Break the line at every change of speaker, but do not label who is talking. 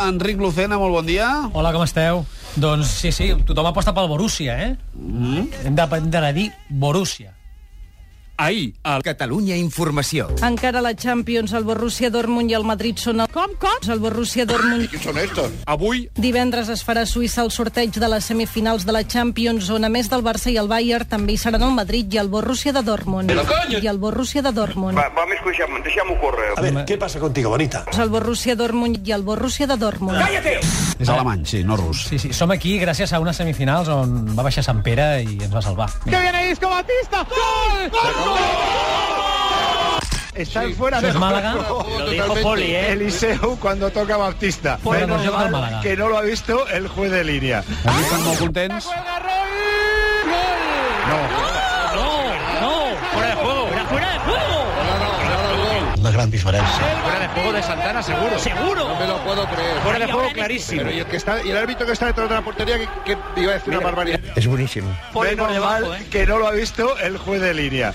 Enric Lucena, molt bon dia.
Hola, com esteu? Doncs sí, sí, tothom aposta pel Borussia, eh? Mm -hmm. Hem d'aprendre a dir Borussia.
Ahir, al Catalunya Informació.
Encara la Champions, el Borussia Dortmund i el Madrid són el... Com, com? El Borussia Dortmund...
¿Quién son estos?
Avui,
Divendres es farà a Suïssa el sorteig de les semifinals de la Champions, on a més del Barça i el Bayern també hi seran el Madrid i el Borussia de Dortmund. I el Borussia de Dortmund.
Va, vamos a escuchar, deixem-ho córrer.
A ver, ¿qué pasa contigo, bonita?
El Borussia Dortmund i el Borussia de Dortmund.
És alemany, sí, no rus.
Sí, sí, som aquí gràcies a unes semifinals on va baixar Sant Pere i ens va salvar.
Están fuera
Això
de
és Màlaga?
Lo dijo Poli, ¿eh?
Eliseu cuando toca Baptista.
Bueno, pues yo creo que
mal
Málaga.
que no lo ha visto el juez de línea.
Pues
Avui estan molt contents.
¡No! ¡Fuera de juego! ¡Fuera, de juego!
Una gran diferència.
¡Fuera de juego de Santana, seguro! ¡Seguro!
No me lo puedo creer.
¡Fuera de juego clarísimo!
Pero y el, que está, y el árbitro que está detrás de la portería, que, que iba a decir una barbaridad.
És boníssim.
Poli por
Menos
debajo,
mal
¿eh?
que no lo ha visto el juez de línea.